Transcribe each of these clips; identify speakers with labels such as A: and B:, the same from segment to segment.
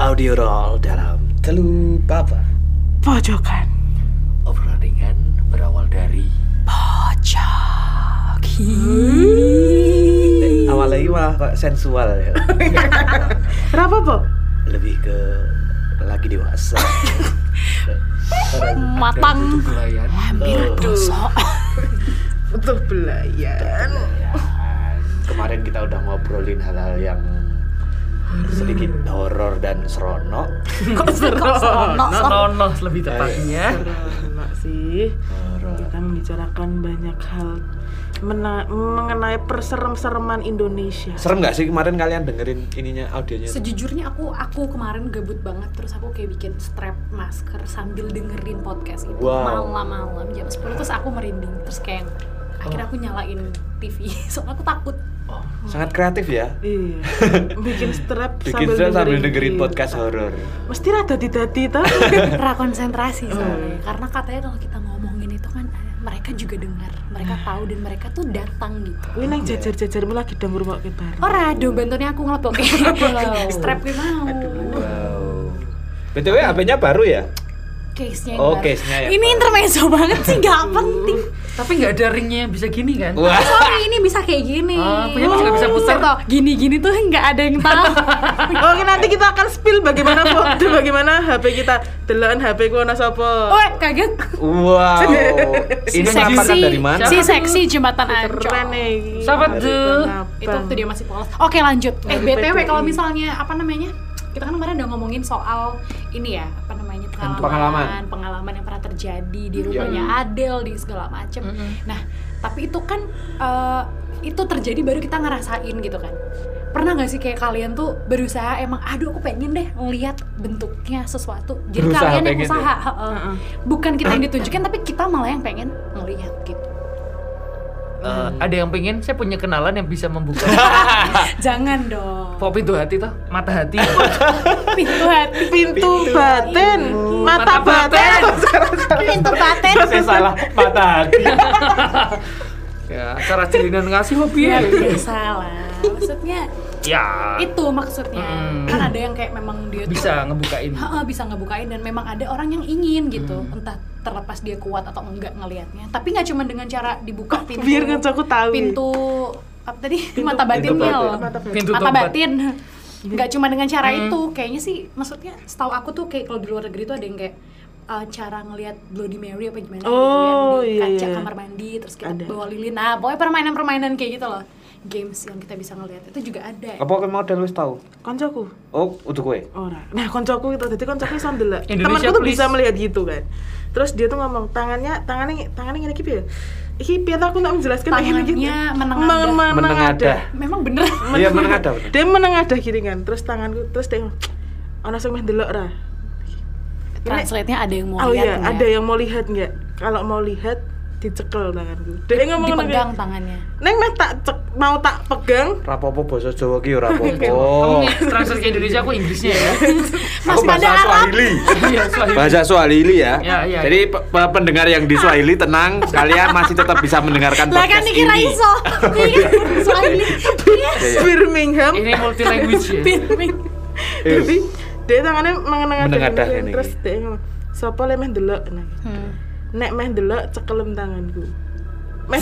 A: Audio roll dalam Telu Baba
B: pojokan
C: Obrolan ringan berawal dari
A: Awal lagi Eh, malah kok sensual ya
B: kenapa Bob
A: Lebih ke lagi dewasa
C: matang gelayan
A: Hampir dosa
B: untuk belayan
A: Kemarin kita udah ngobrolin hal-hal yang sedikit horor dan serono
B: kok serono
C: nonos lebih tepatnya
B: Serono sih
A: Horor.
B: kita membicarakan banyak hal mena- mengenai perserem-sereman Indonesia
A: Serem gak sih kemarin kalian dengerin ininya audionya?
D: Sejujurnya aku aku kemarin gabut banget terus aku kayak bikin strap masker sambil dengerin podcast itu
A: Wow.
D: malam-malam jam 10 terus aku merinding terus kayak akhirnya aku nyalain TV soalnya aku takut
A: Sangat kreatif ya
B: iya bikin strap
A: Bikin
B: sambil,
A: film sambil dengerin gitu.
B: kita.
A: podcast horor
B: mesti rada didati tau
D: prakonsentrasi soalnya Mm. karena katanya kalau kita ngomongin itu kan eh, mereka juga dengar mereka tahu dan mereka tuh datang gitu
B: Kuwi nang jajar-jajar lagi dong rumah kita
D: Ora, aduh bantunya aku ngelepok strap gue mau
A: Wow BTW HP-nya baru ya?
D: case-nya yang
A: Oh,
D: baru.
A: case-nya yang
D: ini
A: baru.
D: intermezzo banget sih gak penting
C: tapi nggak ada ringnya yang bisa gini kan
A: Wah
D: sorry ini bisa kayak gini
C: Ah, punya masih nggak bisa putar.
D: Tuh, gini-gini tuh nggak ada yang tahu
B: Oke nanti kita akan spill bagaimana foto bagaimana HP kita delan HP ku ana sapa.
D: Weh, kaget
A: Wow Ini
D: si
A: penampakan
D: seksi
A: dari mana?
D: si seksi jembatan ancol
B: Keren nih.
C: Siapa tuh?
D: itu waktu dia masih polos oke lanjut eh
B: Dari
D: btw
B: PPI.
D: kalau misalnya apa namanya kita kan kemarin udah ngomongin soal ini ya apa namanya pengalaman
A: Pengalaman.
D: yang pernah terjadi di rumahnya Adele di segala macem nah tapi itu kan eh, itu terjadi baru kita ngerasain gitu kan pernah nggak sih kayak kalian tuh berusaha emang aduh aku pengen deh ngelihat bentuknya sesuatu jadi
A: Berusaha
D: kalian yang
A: pengen
D: usaha heeh. bukan kita yang ditunjukin tapi kita malah yang pengen ngelihat gitu
C: Eh, ada yang pengen saya punya kenalan yang bisa membuka
D: jangan dong
C: pop itu hati toh mata hati
D: pintu hati
B: pintu batin, mata batin.
D: pintu batin
A: Saya salah mata hati
C: ya cara cerinan ngasih hobi ya
D: ya biasa lah maksudnya
C: ya
D: itu maksudnya
C: Hmm.
D: kan ada yang kayak memang dia tuh
C: bisa ngebukain
D: Heeh, bisa ngebukain dan memang ada orang yang ingin gitu
B: Hmm.
D: entah terlepas dia kuat atau enggak ngelihatnya tapi nggak cuma dengan cara dibuka pintu
B: Biar ngecoku tahu.
D: pintu apa tadi mata batinnya
A: batin.
D: loh
B: Mata batin. Hmm.
C: Pintu
D: mata
C: tobat.
D: batin nggak cuma dengan cara itu kayaknya sih maksudnya setahu aku tuh kayak kalau di luar negeri tuh ada yang kayak eh, cara ngelihat Bloody Mary apa gimana gitu yang
B: Oh,
D: di
B: iya,
D: kaca
B: iya.
D: kamar mandi terus kita
B: Ada.
D: bawa lilin nah pokoknya permainan-permainan kayak gitu loh games yang kita bisa ngelihat itu juga ada
A: Apa mau model wis tahu?
B: Koncoku.
A: Oh, untuk gue.
B: Ora. Nah, koncoku itu jadi koncoku iso ndelok. Temanku
C: Indonesia,
B: tuh
C: please.
B: bisa melihat gitu kan. Terus dia tuh ngomong tangannya, tangannya, tangannya ngene iki piye? Iki piye tuh aku tak menjelaskan kayak gini gitu.
D: Tangannya menengadah.
B: Men- men-
A: Menengadah.
D: memang bener
A: Iya, menengadah. bener.
B: Dia menengadah gini kan. Terus tanganku terus dia ngomong, ana sing meh ndelok ra.
D: translate-nya ada yang mau lihat
B: Oh iya,
D: nggak?
B: ada yang mau lihat nggak? Kalau mau lihat dicekel tanganku. Dia ngomong ngono
D: dipegang
B: kayak,
D: tangannya
B: Neng meh tak cek, mau tak pegang,
A: Rapopo basa Jawa ki ora
C: kamu
A: apa-apa.
C: nih, translate ke Indonesia aku Inggrisnya ya
A: Aku bahasa Swahili.
C: iya Swahili.
A: Bahasa Swahili ya.
C: Ya, iya.
A: Jadi pe- pe- pendengar yang di Swahili tenang, kalian masih tetap bisa mendengarkan
D: lah kan
A: podcast
D: dikira
A: ini.
D: iso iya Swahili iya
A: Iya, iya.
B: Birmingham.
C: ini multi language ya
D: Birming.
B: Jadi dia tangannya mengenang-engengan
A: Menengadah
B: gini,
A: ini.
B: terus dia ngomong, "Sopo le meh ndelok?" Nah,
D: Hmm.
B: Nek meh ndelok cekelem tanganku. Meh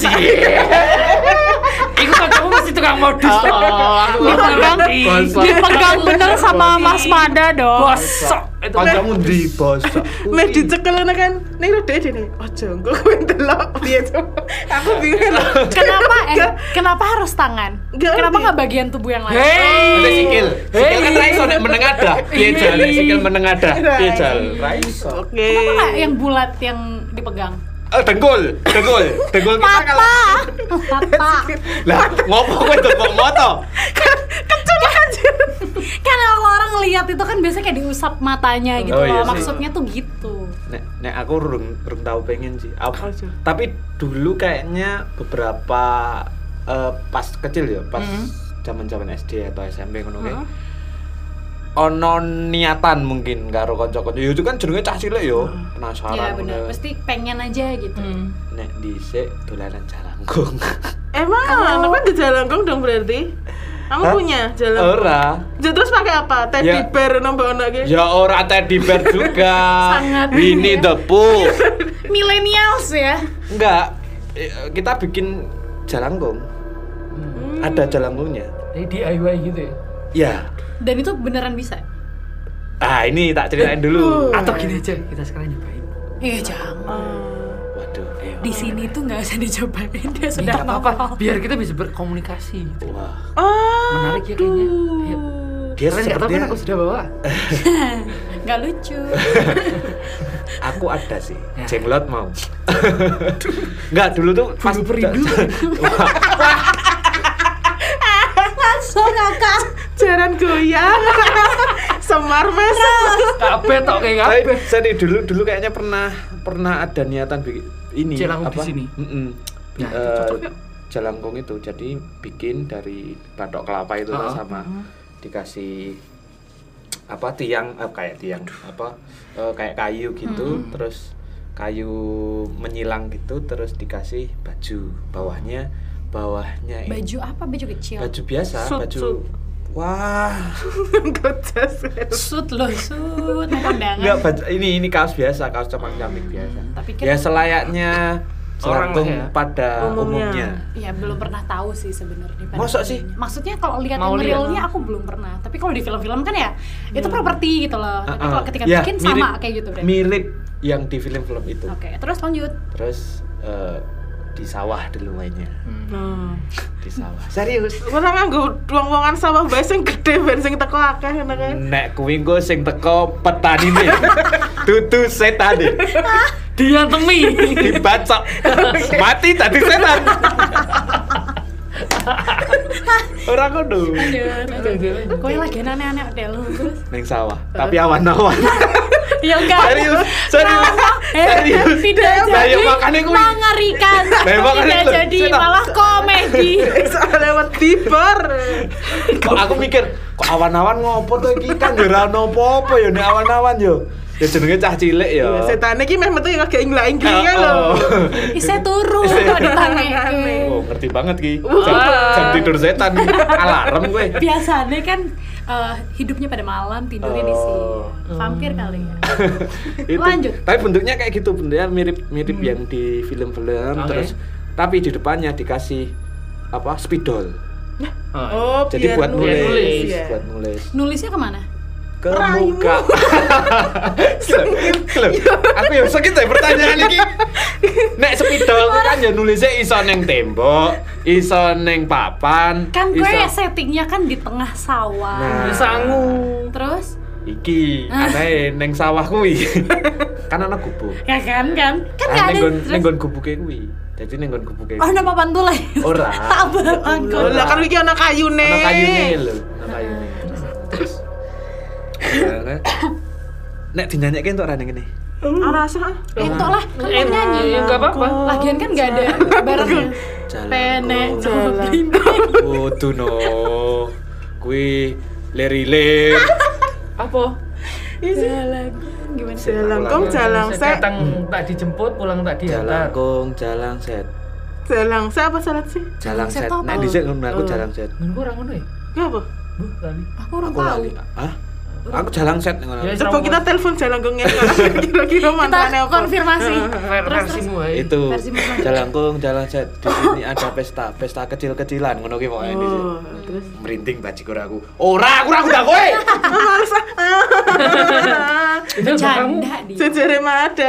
C: Iku kan kamu masih tukang modus Oh, aku nggak ngerti.
D: dipegang bener sama Mas Mada dong
C: Bosok itu. kan-
A: Kancamu di basa.
B: meh dicekelene kan. Ning lho dia dene, "Ojo engko kowe ndelok piye to?" Aku bingung.
D: kenapa eh
B: Enggak.
D: kenapa harus tangan
B: Nggak
D: kenapa
B: ngerti.
D: nggak bagian tubuh yang lain
C: Hei,
A: Ada sikil. Sikil kan raiso nek menengadah. Piye jal nek sikil menengadah? Piye jal? Raiso.
B: Oke.
D: kenapa nggak yang bulat yang dipegang
A: Oh, dengkul, dengkul, dengkul kita kalau
D: mata
A: lah ngopo kowe dengkul moto?
D: kecil aja kan kalau orang lihat itu kan biasanya kayak diusap matanya gitu
A: Oh, iya
D: loh
A: sih.
D: maksudnya tuh gitu
A: Nek, nek aku rung, rung tahu pengen sih. Apa?
B: Apa sih?
A: Tapi dulu kayaknya beberapa eh, pas kecil ya, pas zaman-zaman SD atau SMP ngono kayak. Ono niatan mungkin karo kanca-kanca. Ya itu kan jenenge cah cilik ya,
D: ya
A: penasaran.
D: benar
A: ngono.
D: pasti pengen aja gitu
A: Nek dhisik dolanan jarangkung.
B: Emang, kenapa di jalan kong dong berarti? Kamu
A: Hah?
B: punya jalan.
A: Ora.
B: Ja, terus pakai apa? Teddy
A: Ya.
B: bear nombor ono ge.
A: Ya ora teddy bear juga.
D: Sangat.
A: Winnie the Pooh.
D: millennials ya
A: Enggak. Eh, Kita bikin jalangkung.
C: Hmm.
A: Ada jalangkungnya.
C: Jadi DIY gitu ya.
A: Ya.
D: dan itu beneran bisa
A: Ah, ini tak ceritain dulu.
C: Atau gini aja, kita sekarang nyobain.
D: iya jangan
A: Waduh. eh.
D: di sini tuh nggak usah dicobain dia
C: Ya,
D: sudah
C: nggak apa-apa,
D: hafal.
C: biar kita bisa berkomunikasi gitu.
A: Wah.
B: Oh.
C: Menarik ya kayaknya.
A: Dia
C: Ayo. Kalian nggak tahu kan
A: sepertinya
C: aku sudah bawa.
D: nggak lucu
A: aku ada sih.
C: Ya.
A: Jenglot mau. Enggak, dulu tuh pas
C: Bulu perindu.
D: langsung ngakak
B: Jaran goyang. Semar mes.
C: Kabeh tok kayak
A: Tapi
C: kabeh.
A: saya nih, dulu dulu kayaknya pernah pernah ada niatan bikin ini
C: Jelangkung di sini?
A: Mm-mm. Eh,
C: Nah, itu cocok ya.
A: jelangkung itu jadi bikin dari batok kelapa itu
C: Ah.
A: sama dikasih apa tiang eh, kayak tiang apa eh, kayak kayu gitu terus kayu menyilang gitu terus dikasih baju bawahnya bawahnya ini-
D: baju apa baju kecil
A: baju biasa
B: Suit,
A: baju
B: suit.
A: wah
B: Gojas.
D: sut loh sut mau kondangan
A: Enggak, baj- ini ini kaos biasa, kaos camang camik biasa.
D: Tapi kan-
A: ya selayaknya
C: Orang
A: selangkung
C: lah ya.
A: pada
B: Umumnya.
A: umumnya.
D: Ya belum pernah tahu sih sebenarnya. pada
A: Masa
D: filmnya.
A: sih?
D: Maksudnya kalau lihat yang
C: Mau lihat.
D: realnya aku belum pernah. Tapi kalau di film-film kan ya itu properti gitu loh. Tapi
A: Hmm. Uh-uh.
D: kalau ketika
A: Ya,
D: bikin
A: mirip-
D: sama kayak gitu berarti.
A: Mirip yang di film-film itu.
D: Oke, terus lanjut.
A: Terus eh, di sawah dulu mainnya,
B: Nah.
A: di sawah. Serius.
B: Ora nganggo wong-wongan sawah bae sing gedhe ben sing teko akeh ngono kae.
A: Nek kuwi engko sing teko petani nih. Dudu setan nih.
C: Diantemi.
A: Dibacok. Mati tadi setan. Orang kudu
D: Kowe lagi aneh-aneh deh lu. Terus
A: neng sawah, tapi awan-awan.
D: ya enggak.
A: serius serius serius
D: Eh, tidak
A: Lah,
D: jadi
A: ya makanya kuwi.
D: mengerikan.
A: Lah, ya makanya
D: tidak
A: lho.
D: jadi
A: Saya tak-
D: malah komedi.
B: Soal lewat tibor.
A: kok aku mikir kok awan-awan ngopo tuh iki kan ya ora ono apa-apa ya nek awan-awan yo ya jenenge cah cilik ya
B: Iya,
A: Oh.
B: Setan iki meh metu ya kagak ingla-inglinge lho.
D: Ise turu kok ditangeke.
A: Oh, ngerti banget ki. Jam, jam tidur setan alarm gue.
D: Biasanya kan eh, hidupnya pada malam tidurnya di sini.
A: Oh.
D: Vampir kali ya.
A: Itu.
D: Lanjut.
A: Tapi bentuknya kayak gitu, bentuknya mirip-mirip
B: Hmm.
A: yang di film-film
C: Oke.
A: terus tapi di depannya dikasih apa? spidol.
C: Oh,
B: Oh,
A: Jadi
B: biar
A: buat
B: nulis.
A: nulis,
C: nulis,
B: ya.
A: buat nulis.
D: Nulisnya kemana?
A: ke
B: Merayu.
A: muka Loh, aku yang sakit ya pertanyaan ini nek sepidol ku kan ya nulisnya iso neng tembok iso neng papan
D: Kan gue
A: iso
D: settingnya kan di tengah
A: Nah.
D: sawah.
C: sangu.
D: Terus
A: iki
D: Ah.
A: aneh neng sawah kuwi kan ana gubuk
D: ya kan kan kan
A: Ah,
D: nggak
A: neng
D: ada
A: gon neng
D: terus.
A: gon gubuke kuwi dadi neng gon gubuke
D: Oh nama pantulnya?
A: Ora.
D: Tak
B: Lho,
D: berangkat.
B: Lah kan iki ana kayune.
A: ana kayune lho ana kayune terus akhirnya, nek dinyanyike entuk ora ning kene
B: Ora sah.
D: Entok lah, kan mau
C: Eh,
D: nyanyi.
C: nggak apa-apa.
D: Lagian kan nggak ada barangnya.
A: Jalan
D: Penek,
A: ku-
D: no,
B: Jalan.
D: blimbing.
A: Kudu no. Kuwi leri-ler.
C: Apa?
D: Jalan. Gimana? sih?
B: Jalangkung, jalang se,
C: Saya datang tak dijemput, pulang tak diantar.
A: Jalangkung, jalang set.
B: jalang se apa salat sih?
A: Jalang
D: Jalang set
A: set.
D: apa?
A: Nek dhisik ngono aku jalang set.
C: Mungkin kurang ngono ya?
B: Ya apa?
C: Bu, lali.
D: Aku orang
A: Aku
D: tahu.
A: lali. Hah? Aku jalang set ngono.
C: Ya,
B: Coba kita telepon jalanggungnya kira-kira mantannya
D: Kita
B: apa?
D: konfirmasi.
C: Ver-
D: Terus
C: Versimu
D: terus.
C: ae.
A: Itu
D: Versi mana?
A: jalangkung, jalang set. Di sini ada pesta, pesta kecil-kecilan ngono ki pokoke di sini.
B: Oh, terus.
A: Merinding bajikur aku. Ora, aku ora udah kowe.
C: Itu kamu
D: Bercanda dia.
B: Jujur mah ada.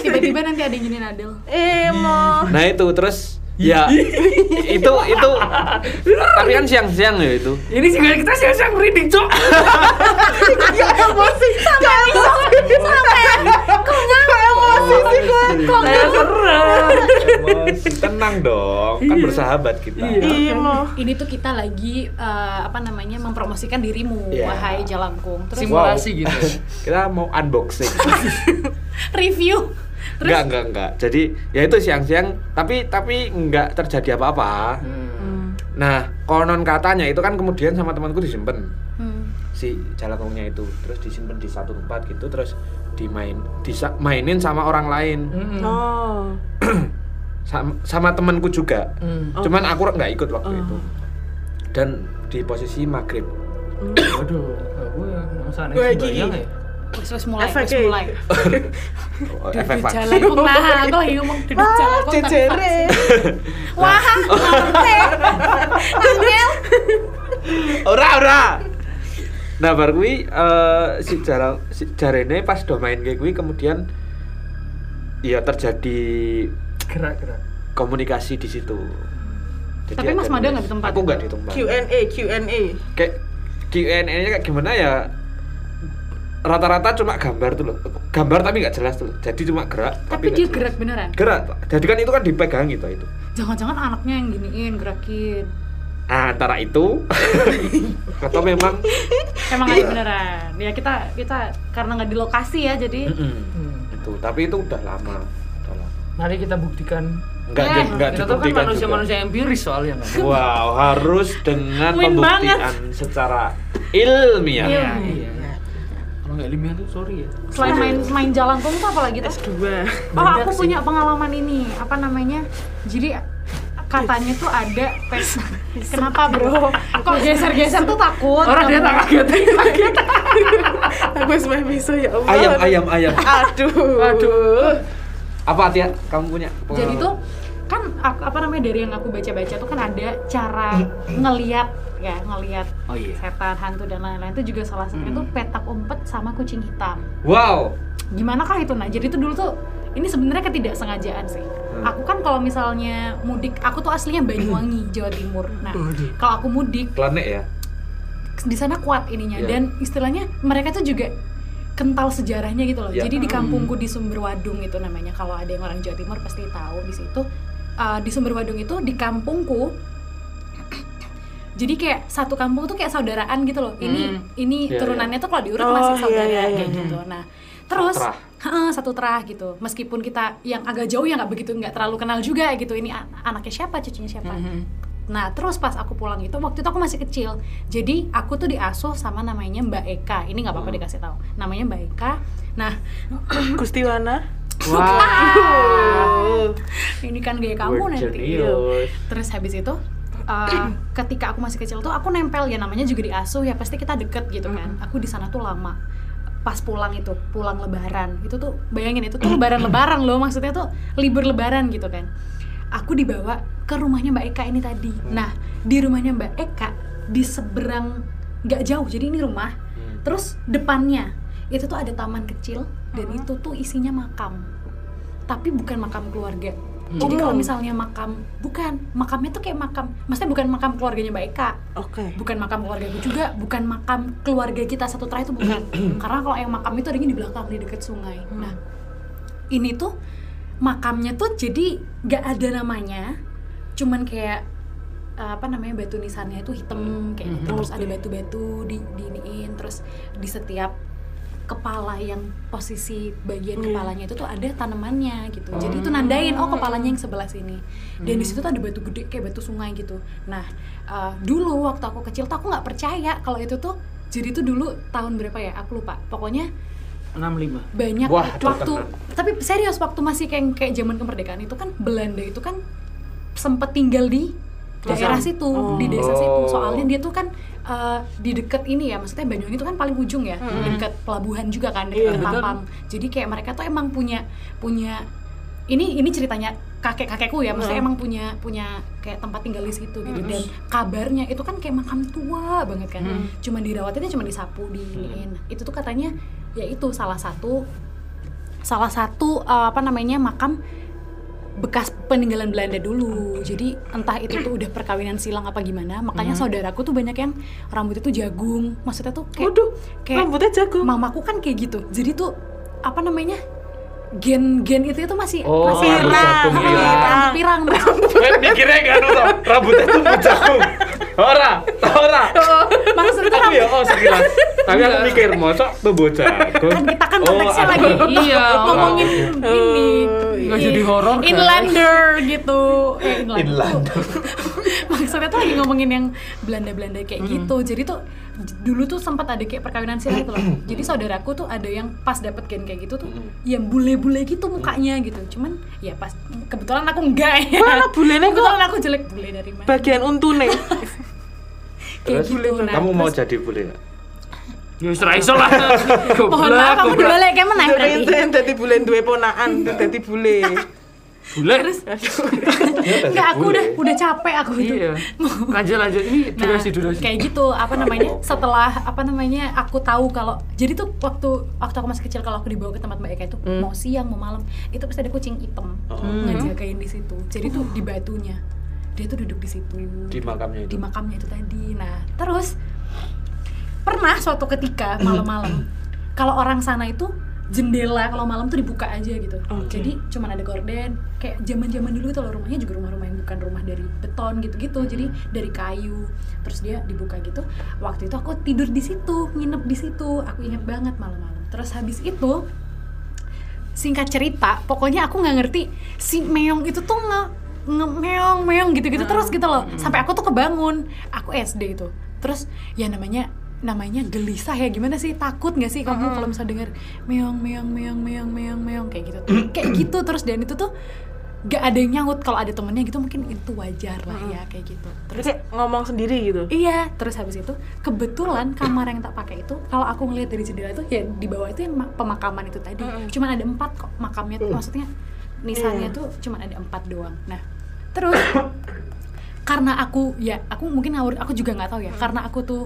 D: Tiba-tiba nanti ada yang nyinin Adel.
B: Emo.
A: Nah itu terus ya itu itu tapi kan siang-siang ya itu
C: Ini sih kita siang-siang merinding, Cok.
B: Gak emosi. Gak emosi. Kok gak emosi sih gue?
D: Kok nggak?
A: Emosi. tenang dong kan bersahabat kita
B: Iya. Emo.
D: Ini tuh kita lagi eh, apa namanya mempromosikan dirimu,
A: Iya.
D: wahai Jalangkung. Terus
C: Simul- Simulasi gitu.
A: kita mau unboxing
D: review. Terus
A: enggak enggak enggak jadi ya itu siang-siang tapi tapi enggak terjadi apa-apa
B: Hmm.
A: nah konon katanya itu kan kemudian sama temanku disimpan
D: Hmm.
A: si jalangkungnya itu terus disimpan di satu tempat gitu terus dimain dimainin sama orang lain
C: Hmm.
B: Oh.
A: sama, sama temanku juga
C: Hmm.
A: cuman aku nggak ikut waktu
B: Oh.
A: itu dan di posisi maghrib
C: Waduh, eh, gue yang sana
B: Gue lagi.
C: sembayang ya.
D: Wes wes mulai, wes
B: Efeknya.
D: mulai.
A: Oh,
D: Duduk
A: efek
D: jalan
A: vaksin
D: kok nah, aku lagi ngomong duduk
B: Ah,
D: jalan kok tapi
B: cecere.
D: vaksin. Wah, ngerti. Ngambil.
A: ora ora nah bar kuwi eh, si jarang si jarene pas do main kayak kuwi kemudian ya terjadi
C: Gerak-gerak.
A: komunikasi di situ Jadi
D: Hmm. Tapi Mas
A: ada
D: Mada
A: nulis.
D: nggak di tempat?
A: aku nggak di tempat
B: Q&A, Q&A.
A: kayak Q&A nya kayak gimana ya rata-rata cuma gambar tuh loh gambar tapi nggak jelas tuh loh jadi cuma gerak
D: Tapi dia
A: nggak jelas.
D: gerak beneran.
A: gerak jadi kan itu kan dipegang gitu itu
D: Jangan-jangan anaknya yang giniin, gerakin.
A: Nah, antara itu atau memang
D: Emang ada beneran. Ya kita kita karena nggak di lokasi ya, jadi
A: Mm-mm.
C: Hmm.
A: itu tapi itu udah lama udah lama
C: Mari kita buktikan.
A: nggak
D: Eh,
A: di- nggak
C: Kita tuh kan
A: dibuktikan juga
C: manusia-manusia empiris soalnya kan.
A: wow harus dengan
D: Win banget.
A: pembuktian secara ilmiah
D: Iya.
C: iya. Kalau nggak ilmiah tuh sorry ya.
D: selain main main jalan kong tuh apalagi tuh?
B: S2.
D: Oh,
C: Banyak
D: aku
C: sih.
D: punya pengalaman ini. Apa namanya? Jadi katanya tuh ada pesta. Kenapa, Bro? Kok geser-geser tuh takut?
C: Orang dia
D: kamu?
C: tak kaget.
B: Aku sebagai miso ya Allah.
A: ayam ayam ayam
B: Aduh.
C: Aduh.
A: apa Tia kamu punya
D: Jadi
A: pengalaman?
D: tuh kan aku- apa namanya dari yang aku baca-baca tuh kan ada cara ngeliat ya ngeliat
C: Oh iya.
D: setan hantu dan lain-lain itu juga salah satunya
C: Hmm.
D: tuh petak umpet sama kucing hitam.
A: wow
D: gimana kah itu nah jadi itu dulu tuh ini sebenarnya ketidaksengajaan sih
C: Hmm.
D: aku kan kalau misalnya mudik aku tuh aslinya Banyuwangi Jawa Timur nah kalau aku mudik
A: planet ya
D: di sana kuat ininya
A: Iya.
D: dan istilahnya mereka tuh juga kental sejarahnya gitu loh.
A: Iya.
D: Jadi di kampungku di Sumberwadung itu namanya kalau ada yang orang Jawa Timur pasti tahu di situ uh, di Sumberwadung itu di kampungku jadi kayak satu kampung tuh kayak saudaraan gitu loh. Ini
C: Hmm.
D: ini
A: Iya,
D: turunannya tuh kalau diurut
B: Oh,
D: masih saudara
B: iya, iya,
D: kayak
B: iya.
D: gitu. Nah, terus
A: Satu terah.
D: Heeh, satu terah gitu. Meskipun kita yang agak jauh ya nggak begitu nggak terlalu kenal juga gitu. Ini an- anaknya siapa, cucunya siapa. Nah, terus pas aku pulang itu waktu itu aku masih kecil. Jadi aku tuh diasuh sama namanya Mbak Eka. Ini nggak apa-apa dikasih tahu. Namanya Mbak Eka. Nah,
B: Gustiwana.
A: wow
D: ini kan gaya kamu
C: iya.
D: nanti.
A: Genius.
D: Terus habis itu eh, ketika aku masih kecil tuh aku nempel ya namanya juga diasuh ya pasti kita deket gitu kan. Aku di sana tuh lama. Pas pulang itu, pulang lebaran. Itu tuh bayangin itu tuh lebaran-lebaran loh maksudnya tuh libur lebaran gitu kan. Aku dibawa ke rumahnya Mbak Eka ini tadi. Nah, di rumahnya Mbak Eka di seberang nggak jauh. Jadi ini rumah.
A: Hmm.
D: Terus depannya itu tuh ada taman kecil dan itu tuh isinya makam. Tapi bukan makam keluarga. Jadi kalau
B: Umum.
D: misalnya makam bukan makamnya tuh kayak makam, maksudnya bukan makam keluarganya Mbak Eka,
B: Oke.
D: bukan makam keluarga gue juga, bukan makam keluarga kita satu terakhir itu bukan. Karena kalau yang makam itu adanya di belakang di dekat sungai. Nah, ini tuh makamnya tuh jadi nggak ada namanya, cuman kayak uh, apa namanya batu nisannya itu hitam kayak gitu. terus ada batu-batu di diiniin terus di setiap kepala yang posisi bagian kepalanya itu tuh ada tanamannya gitu jadi itu nandain oh kepalanya yang sebelah sini dan di situ tuh ada batu gede kayak batu sungai gitu nah uh, dulu waktu aku kecil tuh aku nggak percaya kalau itu tuh jadi tuh dulu tahun berapa ya aku lupa pokoknya
C: 65.
D: banyak
A: Wah,
D: waktu
A: terkenal.
D: tapi serius waktu masih kayak kayak zaman kemerdekaan itu kan Belanda itu kan sempet tinggal di
C: Desa.
D: daerah situ
B: Oh.
D: di desa situ
A: Oh.
D: soalnya dia tuh kan eh, di deket ini ya maksudnya Banyuwangi itu kan paling ujung ya di deket pelabuhan juga kan
B: Iya,
D: deket
C: betul.
D: Tapang jadi kayak mereka tuh emang punya punya ini ini ceritanya kakek kakekku ya maksudnya
B: Hmm.
D: emang punya punya kayak tempat tinggal di situ gitu dan kabarnya itu kan kayak makam tua banget kan
C: Hmm.
D: cuma dirawatnya cuma disapu di itu tuh katanya ya itu salah satu salah satu eh, apa namanya makam bekas peninggalan Belanda dulu. Jadi entah itu tuh udah perkawinan silang apa gimana, makanya saudaraku tuh banyak yang rambutnya tuh jagung. Maksudnya tuh kayak
B: Waduh.
D: kayak
B: Rambutnya jago.
D: mamaku kan kayak gitu. Jadi tuh apa namanya? gen-gen itu itu masih
A: Oh,
D: masih
A: rambut jagung,
D: Ah,
B: pirang.
D: pirang, Mas.
A: Gue Hmm. Kan mikirnya gak nonton rambutnya tuh jagung ora ora
D: Maksudnya tuh
A: aku ya oh sekilas tapi aku
C: Iya.
A: mikir mosok tuh bocah Oh,
D: kan kita kan konteksnya
A: aku-
D: lagi
C: Iya,
D: ngomongin ini
C: Nggak jadi horor, guys.
D: inlander gitu eh, inlander,
A: Inlander.
D: maksudnya tuh lagi ngomongin yang Belanda-Belanda kayak gitu jadi tuh j- dulu tuh sempat ada kayak perkawinan silang gitu loh jadi saudaraku tuh ada yang pas dapet gen kayak gitu tuh yang bule-bule gitu mukanya gitu cuman ya pas kebetulan aku enggak ya
B: Mana bulenya kok
D: kebetulan aku jelek bule dari mana
B: bagian untune.
D: kayak
A: Terus
D: gitu nah
A: kamu mau
D: terus-
A: jadi bule nggak?
C: Ya serai lah.
D: mohon maaf kamu
C: goblok.
D: dibalik kayak mana
B: Tapi
D: berarti
B: itu yang tadi bulan dua ponaan, tadi bule.
C: Bule.
D: terus
A: Iya, jadi
D: Enggak, aku
A: bule.
D: udah udah capek aku itu
C: Iya. Lanjut lanjut. Ini
D: Nah,
C: durasi durasi.
D: kayak gitu apa namanya setelah apa namanya aku tahu kalau jadi tuh waktu waktu aku masih kecil kalau aku dibawa ke tempat mbak Eka itu mau siang mau malam itu pasti ada kucing hitam
A: Oh.
D: ngejagain di situ jadi tuh di batunya dia tuh duduk di situ
A: Di makamnya itu.
D: di makamnya itu tadi nah terus pernah suatu ketika malam-malam kalau orang sana itu jendela kalau malam tuh dibuka aja gitu
B: Oke.
D: jadi cuman ada gorden kayak zaman zaman dulu itu loh rumahnya juga rumah-rumah yang bukan rumah dari beton gitu-gitu
A: Mm-hmm.
D: jadi dari kayu terus dia dibuka gitu waktu itu aku tidur di situ nginep di situ aku ingat banget malam-malam terus habis itu singkat cerita pokoknya aku nggak ngerti si meong itu tuh nge, nge meong meong gitu gitu terus gitu loh sampai aku tuh kebangun aku SD itu terus ya namanya namanya gelisah ya gimana sih takut nggak sih kamu kalau misalnya dengar meong meong meong meong meong meong kayak gitu kayak gitu terus dan itu tuh gak ada yang nyaut kalau ada temennya gitu mungkin itu wajar lah ya kayak gitu terus
B: Terus kayak ngomong sendiri gitu.
D: Iya, terus habis itu kebetulan kamar yang tak pakai itu kalau aku ngelihat dari jendela itu ya di bawah itu yang ma- pemakaman itu tadi. Cuman ada empat kok makamnya tuh maksudnya nisannya tuh cuman ada empat doang. Nah, terus karena aku ya aku mungkin ngawur aku juga nggak tahu ya karena aku tuh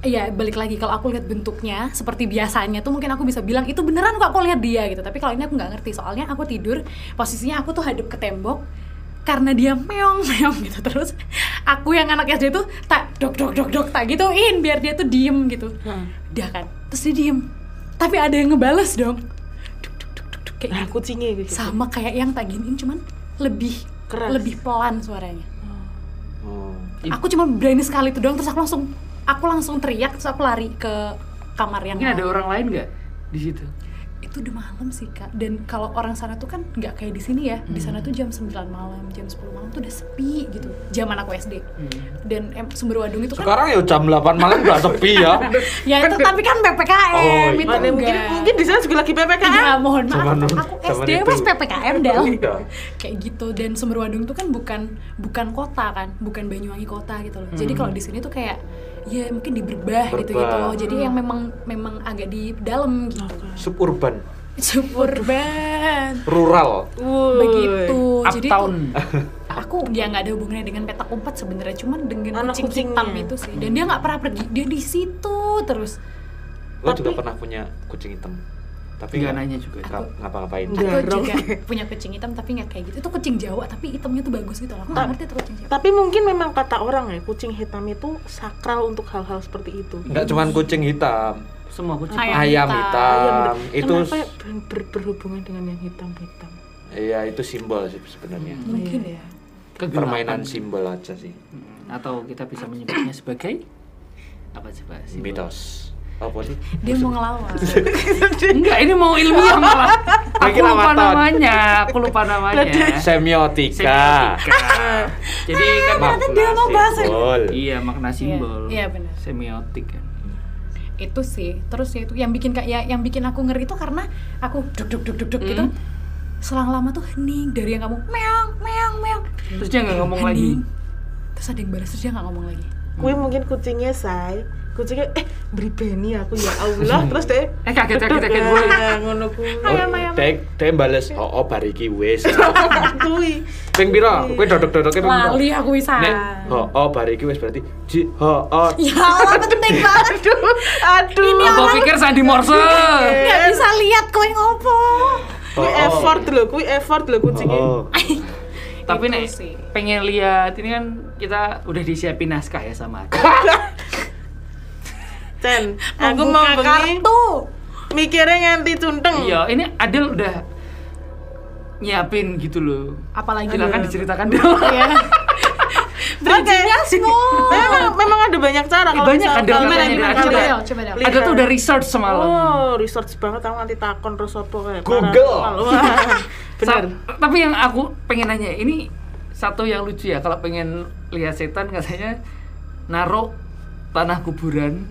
D: Iya balik lagi kalau aku lihat bentuknya seperti biasanya tuh mungkin aku bisa bilang itu beneran kok aku lihat dia gitu tapi kalau ini aku nggak ngerti soalnya aku tidur posisinya aku tuh hadap ke tembok karena dia meong meong gitu terus aku yang anak SD tuh tak dok dok dok dok tak gituin biar dia tuh diem gitu
B: Hmm.
D: dia kan terus dia diem tapi ada yang ngebales dong duk duk duk duk, duk kayak
B: Nah,
D: gitu
B: kucingnya gitu.
D: sama kayak yang tak giniin cuman lebih
B: Keras.
D: lebih pelan suaranya
A: Oh.
C: Ih.
D: aku cuma berani sekali itu doang terus aku langsung aku langsung teriak terus aku lari ke kamar yang
C: Mungkin ada
D: lain.
C: orang lain nggak di situ?
D: itu udah malam sih kak dan kalau orang sana tuh kan nggak kayak di sini ya di sana tuh jam 9 malam jam 10 malam tuh udah sepi gitu zaman aku SD dan em, sumber wadung itu kan
A: Sekarang ya jam 8 malam udah sepi ya.
D: ya itu tapi kan ppkm
A: Oh,
D: itu
B: Mana Iya, mungkin
D: enggak.
B: mungkin di sana juga lagi PPKM.
D: Ya, mohon maaf,
A: Zaman-
D: aku
A: zaman
D: SD
A: itu.
D: pas PPKM Del.
A: Iya.
D: Kayak gitu dan Semerwadung itu kan bukan bukan kota kan, bukan Banyuwangi kota gitu loh.
B: Hmm.
D: Jadi kalau di sini tuh kayak ya mungkin di Berbah
A: Berbah.
D: gitu-gitu. Jadi yang
B: Hmm.
D: memang memang agak di dalam gitu.
A: Suburban,
D: Suburban.
A: rural.
B: Wuih.
D: Begitu. Jadi tuh
C: Uptown.
D: aku dia nggak ada hubungannya dengan petak umpet sebenarnya, cuman dengan
B: Anak
D: kucing
B: kucingnya.
D: hitam itu sih. Dan dia nggak pernah pergi, dia di situ terus.
A: Lo
B: Tapi-
A: juga pernah punya kucing hitam. Tapi
C: Nggak
A: nggak-
C: nanya juga.
A: nggak- ngapa-ngapain.
B: Nggak.
D: Aku
B: Jarang.
D: juga punya kucing hitam tapi nggak kayak gitu. Itu kucing Jawa tapi hitamnya tuh bagus gitu. loh. Aku nggak ngerti tuh kucing Jawa.
B: Tapi mungkin memang kata orang ya, kucing hitam itu sakral untuk hal-hal seperti itu.
A: Enggak cuman kucing hitam,
C: Semua kucing.
D: Ayam
A: ayam
D: hitam. Iya,
A: hitam. Iya, Itu
B: Iya, Kenapa ber- ber- berhubungan dengan yang hitam-hitam?
A: iya itu simbol sih sebenarnya.
C: Hmm.
D: Mungkin ya.
C: Kegelapan.
A: Permainan simbol aja sih.
C: Mm, Atau kita bisa menyebutnya sebagai apa coba sih?
A: Mitos. Apa sih?
D: Dia mau ngelawan.
C: Enggak, ini mau ilmiah malah. Aku
A: Bikin
C: lupa
A: apa, Ton?
C: namanya, aku lupa namanya.
A: Semiotika.
C: Semiotika. Jadi kan
A: Makna
D: dia mau bahas ini.
A: simbol.
C: iya makna simbol.
D: Ah, Iya, benar.
C: Semiotik kan.
D: itu sih. Terus ya itu yang bikin kayak ya, yang bikin aku ngeri itu karena aku duk duk duk duk duk gitu.
C: Mm-hmm.
D: Selang lama tuh hening dari yang kamu meong meong meong.
C: Terus dia nggak ngomong lagi.
D: Hening. Terus ada yang balas terus dia nggak ngomong lagi.
B: Kue mungkin kucingnya say, kucingnya eh beri beni aku ya Allah, terus deh
C: Eh kaget
D: Iya,
C: kaget kaget gue.
B: "Ah, ngono kuwi.
A: Oh, dek, dek bales, oh, oh bariki wis.
B: Kuwi.
A: Ping pira? Kowe dodok-dodoke ping pira?
D: Lali aku bisa.
A: Nek, ho, oh, bariki wis berarti ji, ho, oh,
D: Ya Allah penting banget.
B: Aduh, aduh.
D: Ini
C: Gue
D: orang
C: pikir Sandi Morse.
D: nggak bisa lihat kowe ngopo.
A: Oh,
B: Kuwi
A: oh.
B: effort loh, kuwi effort loh
D: Iya.
B: kucingnya.
A: oh.
C: Tapi
D: Itu
C: nek
D: sih.
C: pengen lihat ini kan kita udah disiapin naskah ya sama. aku.
D: Iya.
A: oh.
B: Cen, aku mau
D: Membuka
B: bengi
D: kartu.
B: mikirnya nganti cunteng.
C: Iya, ini Adel udah nyiapin gitu loh.
D: Apalagi
C: Silakan diceritakan dulu.
D: ya. Bridgingnya smooth.
B: Memang, memang ada banyak cara kalau
C: banyak
B: misal-
C: ada
B: kalau
C: banyak
B: misal-
D: ya.
B: kalau-
C: ada.
D: Coba Del, coba Del.
B: Lihat.
C: Adel tuh
D: iya.
C: udah research semalam.
B: Oh, research banget aku nanti takon terus apa kayak
A: Google.
B: paranormal. Wah, Bener.
C: Sa- tapi yang aku pengen nanya ini satu yang lucu ya kalau pengen lihat setan katanya naruh tanah kuburan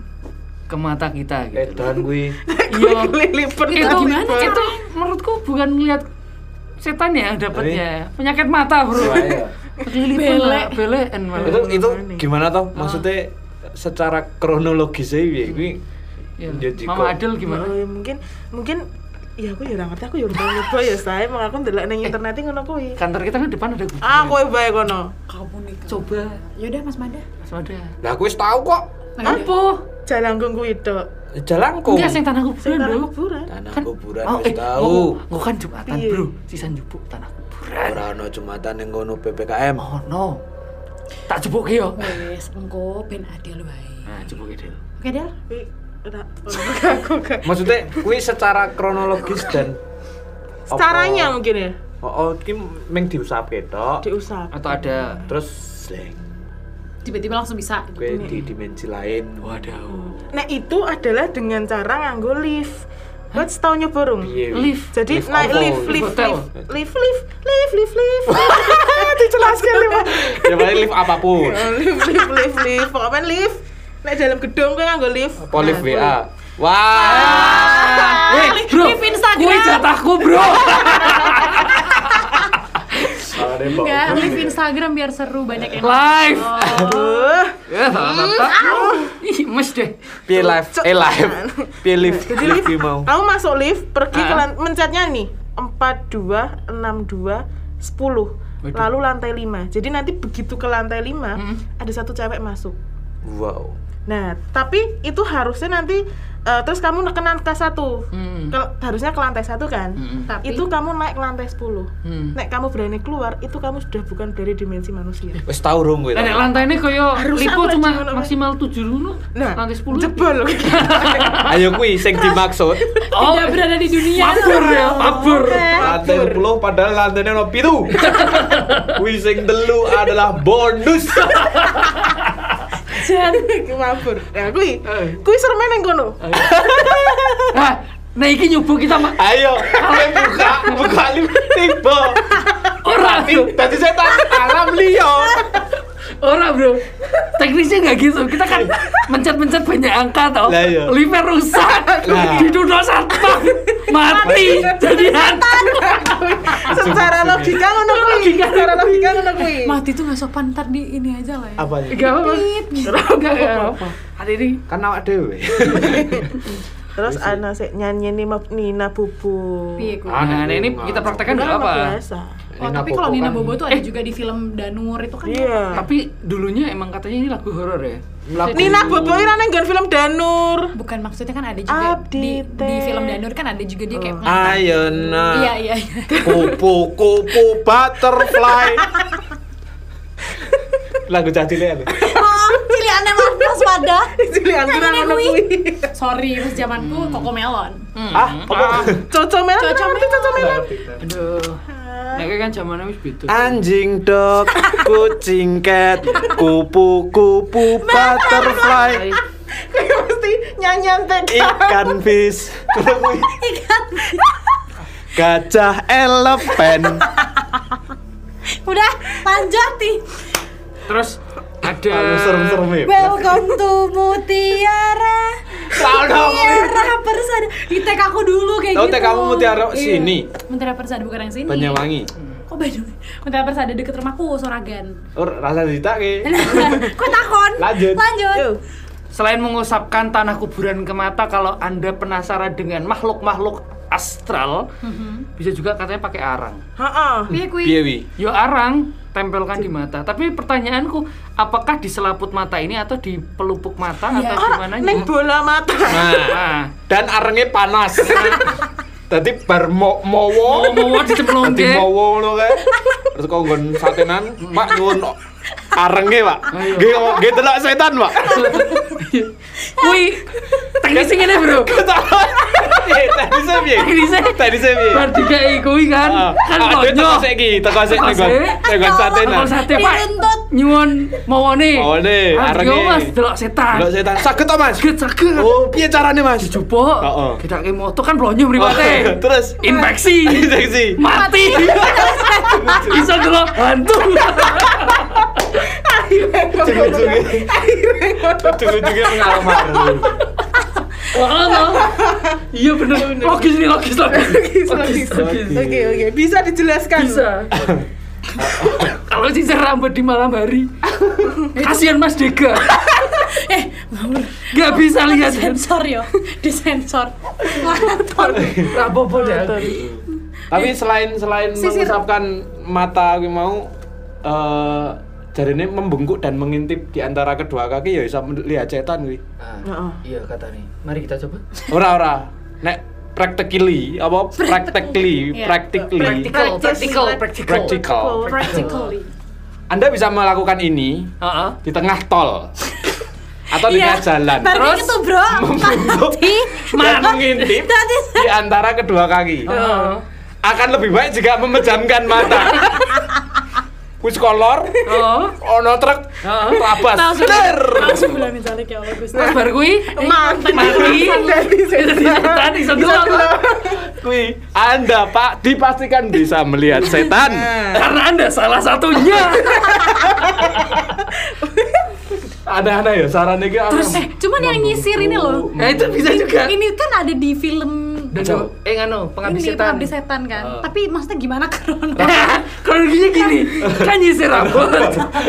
C: ke mata kita gitu.
A: Edan kuwi.
C: Iya.
B: Lilipan
A: gitu?
C: itu
D: gimana
C: itu,
A: Eh?
C: menurutku bukan ngelihat setan ya dapatnya penyakit mata bro.
A: Suwae ya.
C: kelilipan
D: Belek.
C: lah belekan malah.
A: itu itu
B: Ini.
A: gimana toh maksudnya secara kronologisnya ya gue
C: Ya.
A: Dia jiko.
C: Mama Adel gimana?
B: Oh, ya mungkin mungkin ya aku ya ora ngerti aku ya ora nyoba ya saya emang aku ndelok
C: Eh.
B: ning internet ngono kuwi.
C: Kantor kita kan depan ada kuburan.
B: Ah, kowe bae kono.
D: Kamu nih.
C: Coba,
D: Yaudah Ya Mas Mada.
C: Mas Mada.
B: Nah,
A: lah aku wis tahu kok
B: iya.
C: Apa?
B: Jalanggung kuwi tok.
A: jalanku
C: Enggak sing tanah
B: Sing
C: kuburan,
B: tanah
C: Bro.
B: kuburan.
A: tanah
C: Kan-
A: kuburan
C: Oh,
A: wis
C: eh,
A: tahu
C: Gue kan Jumatan,
B: Piye?
C: Bro. Sisan jupuk tanah kuburan.
A: ora ono jumatan ning kono PPKM
C: Oh no. Tak jupuk ki yo.
D: Wes, engko ben adil wae.
C: Nah, jupuk Del.
D: Oke, Del.
B: Kuwi ora Oh, ora aku gak.
A: maksudnya gue secara kronologis dan
B: Caranya mungkin ya
A: apa- oh, oh ini meng diusapke tok
B: diusap.
C: Atau ada
A: terus sleng
D: Tiba-tiba langsung bisa. gitu.
A: gue di dimensi lain
C: waduh.
B: Nah, itu adalah dengan cara nganggo lift. Kowe tau nyoba rung?
C: Iya.
A: Piye?
C: Lift.
B: Jadi
A: Lift
B: naik
A: apa?
B: lift, lift,
C: Hotel.
B: lift, lift, lift, lift, lift, lift. Dijelaskan lift.
A: ya paling lift apapun
B: Lift, lift, lift, lift. Pokoknya lift. Nek dalam gedung kowe nganggo lift.
A: polif
B: Nah,
A: WA wah
C: Eh, Bro.
D: live Instagram.
C: Kuwi jatahku, Bro.
D: Enggak, live Instagram biar seru banyak yang
C: Live.
B: Aduh.
C: Ya, salah tak. Ih, mes deh.
A: Piye live? Eh live. Piye lift?
B: Jadi
A: Lift
B: lift,
A: piye mau.
B: kamu masuk lift, pergi ke
C: Ah.
B: lan- mencetnya nih 4262 10.
C: Waduh.
B: Lalu lantai 5. Jadi nanti begitu ke lantai 5,
C: Mm.
B: ada satu cewek masuk.
A: Wow.
B: Nah, tapi itu harusnya nanti eh, terus kamu nekenan ke satu.
C: Hmm.
B: Ke- harusnya ke lantai satu kan?
C: Hmm.
D: Tapi
B: Itu kamu naik ke lantai 10.
C: Hmm.
B: Nek kamu berani keluar, itu kamu sudah bukan dari dimensi manusia.
A: Wis tau rung kowe.
C: Lah Nah, nek lantainya koyo
B: Harus
C: lipo
B: apa
C: cuma
B: lagi, ngono, Mas?
C: maksimal 7 ngono.
B: Nah,
C: Lantai 10.
B: jebol.
A: Ayo kuwi sing dimaksud.
C: Oh,
D: tidak berada di dunia.
C: mabur ya, mabur.
A: Lantai 10 padahal lantainya ono 7. Kuwi sing telu adalah bonus.
B: Jan, mabur. Nah, kui,
C: Eh.
B: kui serem neng kono.
C: Nah, nah iki nyoba kita Mak.
A: Ayo, kowe buka, buka lift tiba.
C: Ora,
A: Tapi tadi setan alam liya.
C: Ora bro, teknisnya nggak gitu. Kita kan mencet-mencet banyak angka tau.
A: Lah, iya.
C: Liver rusak,
A: Lah.
C: diduduh satpam, mati, jadi hantar.
B: Secara logika ngono kui. Secara logika ngono kui.
D: Mati tuh gak sopan ntar di ini aja lah ya. gitu.
A: Apa ya?
C: Gak apa-apa. Gak apa-apa. Hari ini
A: Kan awak dhewe.
B: Terus
C: ya?
B: ana sik nyanyi nih Mab- Nina Bubu.
D: Piye ku?
A: Ah,
C: Nah,
A: nek
C: ini
A: bunga.
C: kita praktekkan
B: Udah
C: nggak
B: anak
C: apa.
B: biasa.
D: Oh, Iya, tapi kalau
A: Nina
D: Nina Bobo tuh ada juga di film Danur itu kan.
B: Iya.
C: Tapi dulunya emang katanya ini lagu horor ya.
A: Lagu-
B: Nina Bobo ini nang nggon film Danur.
D: Bukan maksudnya kan ada juga di,
B: Update.
D: di film Danur kan ada juga dia kayak ngantar.
A: Ayo nah.
D: Iya, iya, iya.
A: Kupu kupu butterfly. Lagu cacile lho.
D: Oh, cilik aneh mas Mas Wada.
B: Cilian
D: Nyanyi
B: kurang
D: nih
B: ngono
D: kui.
B: kui.
D: Sorry, pas zamanku Koko Melon.
A: Ah, apa?
B: Coco Melon,
D: Coco
B: Coco Melon, Coco Melon.
C: Aduh. Nah, kayak kan zamannya wis gitu.
A: Anjing dog, kucing cat, kupu-kupu butterfly,
B: Kayak mesti nyanyian TK.
A: ikan fish, gajah elephant.
D: Udah, lanjuti.
C: Terus ada
A: Aduh, serem-serem ya.
D: Welcome to Mutiara.
A: Tahu dong.
D: Mutiara Persada. Di TK aku dulu kayak
A: Tahu
D: gitu.
A: TK kamu Mutiara sini?
D: Mutiara Persada bukan yang sini.
A: Banyuwangi.
D: Kok Banyuwangi? Mutiara Persada deket rumahku Soragan.
A: Or rasa ya. ditake.
D: Kok takon?
A: Lanjut.
D: Lanjut.
C: Selain mengusapkan tanah kuburan ke mata, kalau anda penasaran dengan makhluk-makhluk astral, bisa juga katanya pakai arang.
B: Heeh.
D: Piye kuwi?
A: Piye wi?
C: Yo arang tempelkan di mata. Tapi pertanyaanku, apakah di selaput mata ini atau di pelupuk mata atau
B: Ora
C: gimana? gitu?
B: ning
D: gitu?
B: bola mata.
A: Nah,
C: Nah,
A: dan arengnya panas. Tadi bar mo mowo.
C: Oh, mau mau diceplung
A: Nanti
C: deh.
A: bawa lo kayak terus kau nggon satenan, pak nyuwun arenge pak, gak gak telak setan pak.
C: Kui, teknisnya ini bro.
A: Eh, Tadi saya piye?
C: Teknisnya-
A: Tadi saya piye?
C: Bar juga kui
A: Ah,
C: kan, kan
A: ah, dia
C: konyol.
A: teko seki, teko seki
C: Teko
A: nggon-
C: seki.
A: nggon satenan.
C: Kalau sate pak,
D: Diruntut.
C: nyuwun mau nih.
A: Mawone, arenge.
C: mas, delok
A: Lo
C: setan.
A: setan, sakit toh mas?
C: Sakit, sakit.
A: Oh, piye caranya mas?
C: Jupuk,
A: Heeh. Oh,
C: kita kayak moto kan blonyo mripate.
A: Terus?
C: infeksi.
A: Infeksi.
C: Mati. Bisa delok hantu.
A: Ujung-ujungnya, ujung-ujungnya pengalaman.
C: Wah, no. Iya bener. Logis nih, logis logis.
B: Logis, logis. Oke, oke. Bisa dijelaskan.
C: Bisa. kalau sisir rambut di malam hari kasihan Mas Dega
D: eh ngawur
C: nggak bisa lihat
D: sensor yo disensor Laton.
C: rapopo dah
A: Tapi selain selain
D: Sisir.
A: mengusapkan mata aku mau eh jarine membengkuk dan mengintip di antara kedua kaki ya bisa melihat setan kuwi.
B: Heeh.
C: iya kata nih mari kita coba
A: Ora ora. Nek practically apa practically
D: Iya.
A: practically
C: practical practical practical
A: practical.
D: practically
A: Anda bisa melakukan ini
C: Heeh.
A: di tengah tol atau di
D: Iya.
A: tengah jalan
D: terus
C: Terus
D: itu bro tadi
A: dan mengintip
D: tadi
A: di antara kedua kaki.
C: Heeh.
A: Akan lebih baik jika memejamkan mata. Wis kolor,
C: Heeh.
A: ono truk,
C: Heeh.
A: rabas.
D: langsung
A: Bener.
D: langsung bilang misalnya kayak ya Allah Gusti
C: Terus baru kui
B: Mantan.
C: mari
B: Dari
C: setan iso dulu
A: Kui, Anda Pak dipastikan bisa melihat setan.
C: karena anda salah satunya
A: Ada-ada ya saran iki. aku
D: terus eh cuman yang nyisir ini loh
C: nah itu bisa juga
D: ini kan ada di film
C: Dodo, eh ngano, pengabdi
D: ini
C: setan.
D: pengabdi setan kan
C: Oh.
D: tapi maksudnya gimana krono
C: Kronologinya Nah, gini, kan nyisir rambut,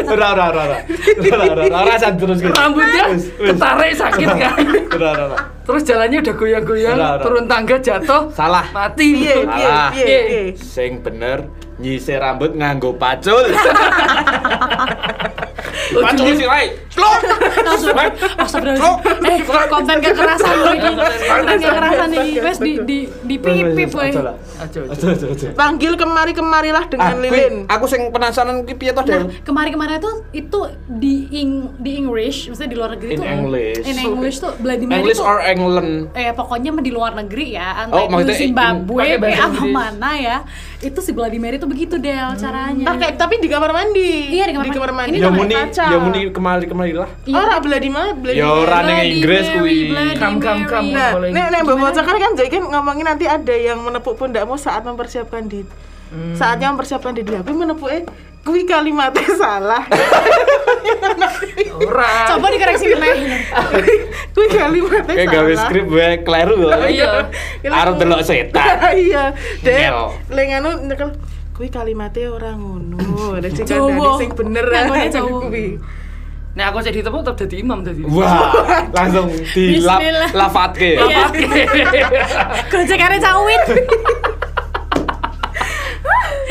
A: Ora ora ora ora. Ora ora ora ora san terus Ki.
C: rambutnya
A: Wis, wis.
C: ketarik sakit
D: gitu
C: kan.
A: Ora ora ora.
C: Terus jalannya udah goyang-goyang,
A: Ora, ora.
C: turun tangga jatuh,
A: Salah.
C: mati.
B: Piye, piye,
A: Salah.
B: piye,
C: Iya.
B: piye.
A: Sing bener nyisir rambut nganggo pacul. Pacul
C: Ujungnya-
A: sih wae. Slok.
D: langsung astagfirullah eh konten kekerasan ini konten kekerasan ini wes di di di pip pip weh.
A: Aja lah.
C: Aja, aja.
A: Aja aja aja.
B: Panggil kemari kemarilah
A: Ah,
B: dengan
A: kui,
B: lilin.
A: aku sing penasaran ki piye to,
D: Nah,
A: Del?
D: kemarin-kemarin itu itu di Ing- di English, maksudnya di luar negeri
A: In
D: tuh
A: English.
D: in English tuh Bloody Mary
A: English
D: tuh-
A: or England?
D: eh pokoknya mah di luar negeri ya, entah
A: Oh, maksudnya
D: itu
A: in-
D: Zimbabwe
C: pakai bahasa
D: kayak apa
C: Inggris.
D: mana ya. Itu si Bloody Mary tuh begitu Del caranya.
B: Pakai Nah, tapi di kamar mandi.
D: Iya, di kamar mandi.
B: mandi.
D: Ini
A: Ya
D: namanya
A: muni,
B: kaca.
A: ya muni kemari kemari lah.
D: Iya.
B: Ora beladi mah beladi.
A: Ya ora
D: Bloody
A: ning Inggris
D: Mary,
A: kuwi.
D: Bloody
C: Kam, kam,
D: Mary.
C: kam.
B: Nah,
C: Boleh.
B: nek nek Mbak Bocor kan kan jadi kan ngomongin nanti ada yang menepuk pundakmu saat mempersiapkan diri.
D: Hmm.
B: Saatnya mempersiapkan diri. Aku menepuk eh kui kalimatnya salah.
C: Ora.
D: Coba dikoreksi meneh.
B: kui kalimatnya
A: Kayak
B: salah.
A: gawe skrip gue kleru kok.
C: Iya.
A: Arep delok setan.
B: Ya, Iya. Dek,
A: Ngel.
B: leng anu nyekel kui kalimatnya ora ngono. Ada sing
D: Jawa.
B: kandhane sing bener.
D: Nganggonya Jawa.
B: Kui.
C: Nah aku jadi tepuk tetap jadi imam tadi.
A: Wah, langsung di lap
D: Bismillah.
A: lafatke.
D: Iya. Gojekannya cawit.